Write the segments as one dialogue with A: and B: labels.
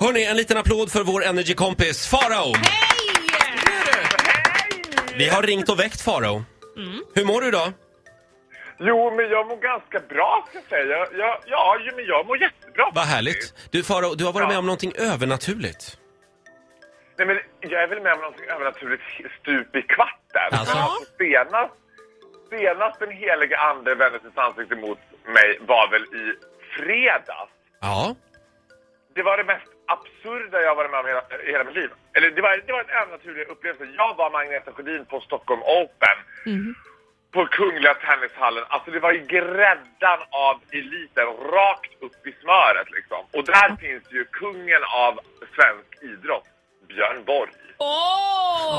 A: Hörni, en liten applåd för vår energikompis Farao. Vi har ringt och väckt Farao.
B: Mm.
A: Hur mår du idag?
C: Jo, men jag mår ganska bra ska jag säga. Jag, jag, ja, jo, men jag mår jättebra.
A: Vad härligt. Du Farao, du har varit
C: Ja.
A: med om någonting övernaturligt.
C: Nej, men jag är väl med om något övernaturligt stup i kvarten.
A: Alltså.
C: Men alltså, senast, senast den helige ande vände sitt ansikte mot mig var väl i fredags.
A: Ja.
C: Det var det mest absurda jag har varit med om hela, hela mitt liv. Eller det var, det var en övernaturlig upplevelse. Jag var Magneta Sjödin på Stockholm Open. På Kungliga Tennishallen. Alltså det var ju gräddan av eliten rakt upp i smöret liksom. Och där finns ju kungen av svensk idrott, Björn Borg.
B: Åh!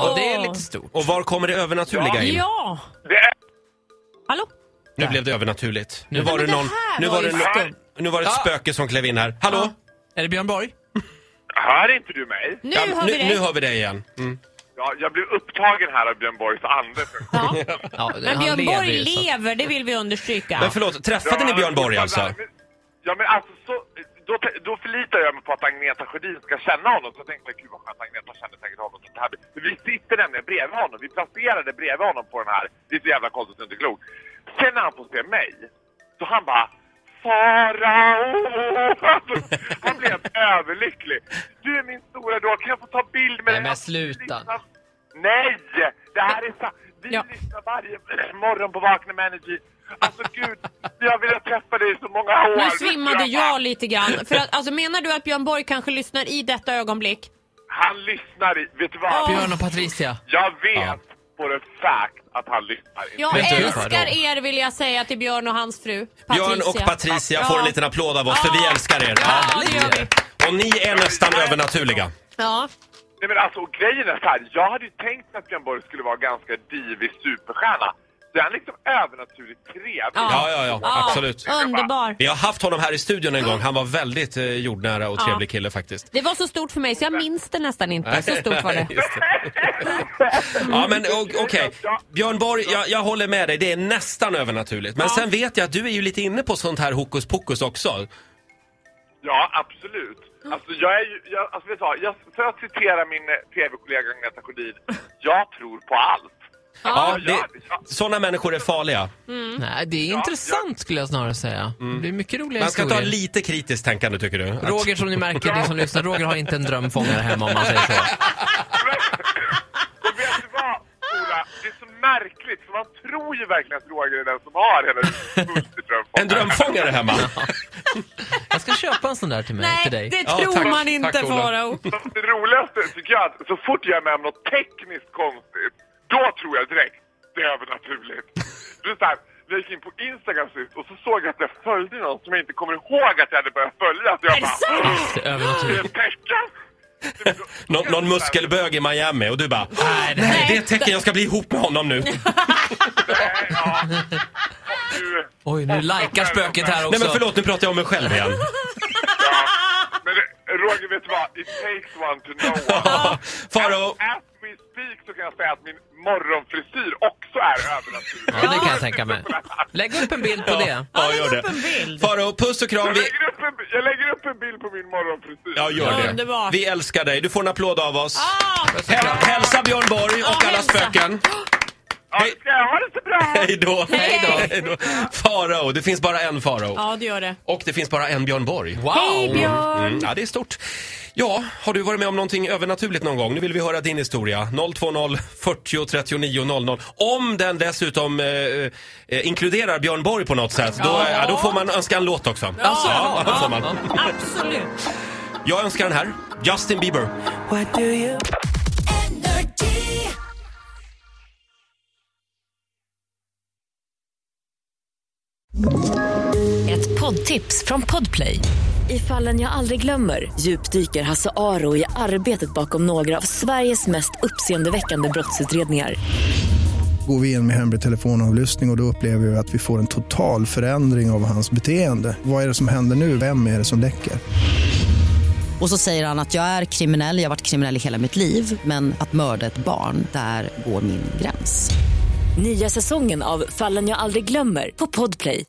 D: Ja, det är lite stort.
A: Och var kommer det övernaturliga in?
B: Ja!
C: Det är
B: Hallå?
A: Nu blev det övernaturligt. Nu var
B: men
A: det
B: det
A: någon...
B: här
A: Nu
B: var
A: var
B: ju
A: det någon...
C: skumt.
A: Nu var det ett
D: Ja.
A: spöke som klev in här. Hallå?
D: Är det Björn Borg?
C: Hör inte du mig?
B: Nu
A: Ja,
B: hör vi
A: nu,
B: dig.
A: nu hör vi dig igen. Mm.
C: Ja, jag blev upptagen här av Björn Borgs ande.
B: Ja.
D: Ja,
B: Men Björn Borg
D: ju, så att-
B: lever, det vill vi understryka.
A: Men förlåt, träffade ni Björn Borg alltså?
C: Ja, men alltså så, då, då förlitar jag mig på att Agneta Sjödin ska känna honom. Så jag tänkte jag, gud vad skönt, Agneta känner säkert honom. Så det här, blir- vi sitter nämligen bredvid honom. Vi placerade bredvid honom på den här. Det är så jävla konstigt, det är inte klokt. Sen när han får se mig, så han bara Farao! Alltså, han blev överlycklig. Du är min stora idol, kan jag få ta bild med
D: Nej,
C: dig?
D: men
C: Alltså,
D: sluta.
C: lyssna- Nej! Det här är sant. Vi
B: Ja.
C: lyssnar varje morgon på Vakna med Energy. Alltså gud, jag ville träffa dig i så många år.
B: Nu svimmade jag lite grann. För att, alltså, menar du att Björn Borg kanske lyssnar i detta ögonblick?
C: Han lyssnar i, vet du vad?
B: Ja.
D: Björn och Patricia.
C: Jag vet
A: Ja.
C: for a fact att han lyssnar. i.
B: Jag
A: Vet du,
B: älskar er vill jag säga till Björn och hans fru Patricia.
A: Björn och Patricia får en liten applåd av oss, för vi
B: Ja.
A: älskar er.
B: Ja, det gör vi.
A: Och ni är nästan övernaturliga.
B: Ja.
C: Nej men alltså, och grejen är så här. Jag hade ju tänkt att Björn Borg skulle vara ganska divig superstjärna. Så är han liksom övernaturligt trevlig.
A: Ja, ja, ja, absolut.
B: Underbar.
A: Vi har haft honom här i studion en gång. Han var väldigt eh, jordnära och
B: Ja.
A: trevlig kille faktiskt.
B: Det var så stort för mig så jag minns det nästan inte. Så stort var det.
A: Just det. Ja,
C: Mm.
A: men o- okej. Björn Borg, jag, jag håller med dig. Det är nästan övernaturligt. Men sen vet jag att du är ju lite inne på sånt här hokus pokus också.
C: Ja, absolut. Alltså, jag är ju, jag, alltså vet du vad, jag, för att citera min eh, tv-kollega Agneta Sjödin, jag tror på allt.
A: Ja,
C: jag,
A: det, såna människor är farliga.
D: Nej, det är intressant skulle jag snarare säga. Det är mycket roliga
A: Man ska ta
D: historier.
A: lite kritiskt tänkande tycker du? Att-
D: Roger som ni märker, ni som lyssnar, Roger har inte en drömfångare hemma om man säger så.
C: Och vet du vad, Ola? Det är så märkligt, för man tror ju verkligen att Roger är den som har hela multidrömfångaren.
A: En drömfångare hemma?
D: Jag ska köpa en sån där till mig, till
B: Nej,
D: dig.
B: det
A: Ja,
B: tror
A: tack.
B: man
A: Tack,
B: inte
A: Ola.
B: Farao.
C: Det roligaste tycker jag att så fort jag är med om något tekniskt konstigt, då tror jag direkt det är övernaturligt. Det är så här, jag gick in på Instagram sist och så såg jag att jag följde någon som jag inte kommer ihåg att jag hade börjat följa. Så jag
B: Är det
C: bara,
B: sant?
D: Det är övernaturligt.
C: det är ett tecken!
A: Nå- någon muskelbög i Miami och du bara Nej, det, här, det är ett tecken, jag ska bli ihop med honom nu.
C: Nej, ja. Och du,
D: Oj, nu likar spöket här också.
A: Nej men förlåt, nu pratar jag om mig själv igen.
C: ja. Men det- Roger, vet du vad? It takes one to know one.
A: Faro,
C: As we speak så kan jag säga att min morgonfrisyr också är övernaturlig.
D: Ja, det kan jag tänka mig. Lägg upp en bild på det.
A: ja gör det. Faro, puss och kram.
C: Jag
A: Vi...
C: lägger, upp en, bi- jag lägger upp en bild på min morgonfrisyr.
A: Ja, gör det.
B: Underbart.
A: Vi älskar dig. Du får en applåd av oss.
B: Ah,
A: Häl hälsa Björn Borg
B: Ja,
A: och alla
B: hälsa.
A: spöken.
C: Ja, ska jag ha det så bra!
A: Hej då.
B: Hej då.
A: Hej då. Farao, det finns bara en Farao.
B: Ja, det gör det.
A: Och det finns bara en Björn Borg.
D: Wow!
B: Hej Björn!
A: Mm, ja, det är stort. Ja, har du varit med om någonting övernaturligt någon gång? Nu vill vi höra din historia. 020 40 39 00. Om den dessutom eh, eh, inkluderar Björn Borg på något sätt, då, eh, ja, då får man önska en låt också.
D: Alltså,
A: ja, då får man.
B: Absolut.
A: Jag önskar den här. Justin Bieber.
E: Ett poddtips från Podplay. I fallen jag aldrig glömmer djupdyker Hasse Aro i arbetet bakom några av Sveriges mest uppseendeväckande brottsutredningar.
F: Går vi in med hemlig telefonavlyssning och, och då upplever vi att vi får en total förändring av hans beteende. Vad är det som händer nu? Vem är det som läcker?
G: Och så säger han att jag är kriminell, jag har varit kriminell i hela mitt liv men att mörda ett barn, där går min gräns.
E: Nya säsongen av Fallen jag aldrig glömmer på Podplay.